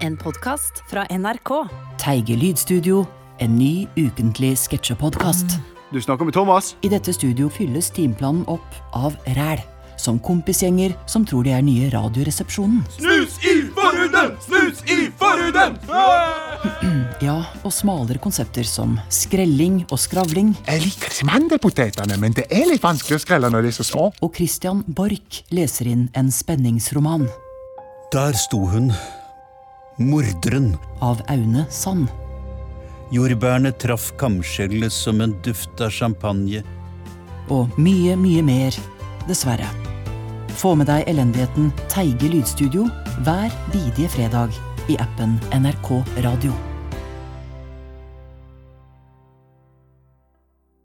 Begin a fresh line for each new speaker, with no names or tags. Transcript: En podkast fra NRK.
Teige Lydstudio, en ny ukentlig sketsjepodkast.
Du snakker med Thomas.
I dette studio fylles timeplanen opp av ræl. Som kompisgjenger som tror de er nye Radioresepsjonen.
Snus i forhuden! Snus i forhuden!
Ja, og smalere konsepter som skrelling og skravling.
Jeg liker disse mandelpotetene, men det er litt vanskelig å skrelle når de er så små.
Og Christian Borch leser inn en spenningsroman
Der sto hun, morderen.
av Aune Sand.
Jordbærene traff kamskjellet som en duft av champagne.
Og mye, mye mer, dessverre. Få med deg elendigheten Teige Lydstudio hver bidige fredag i appen NRK Radio.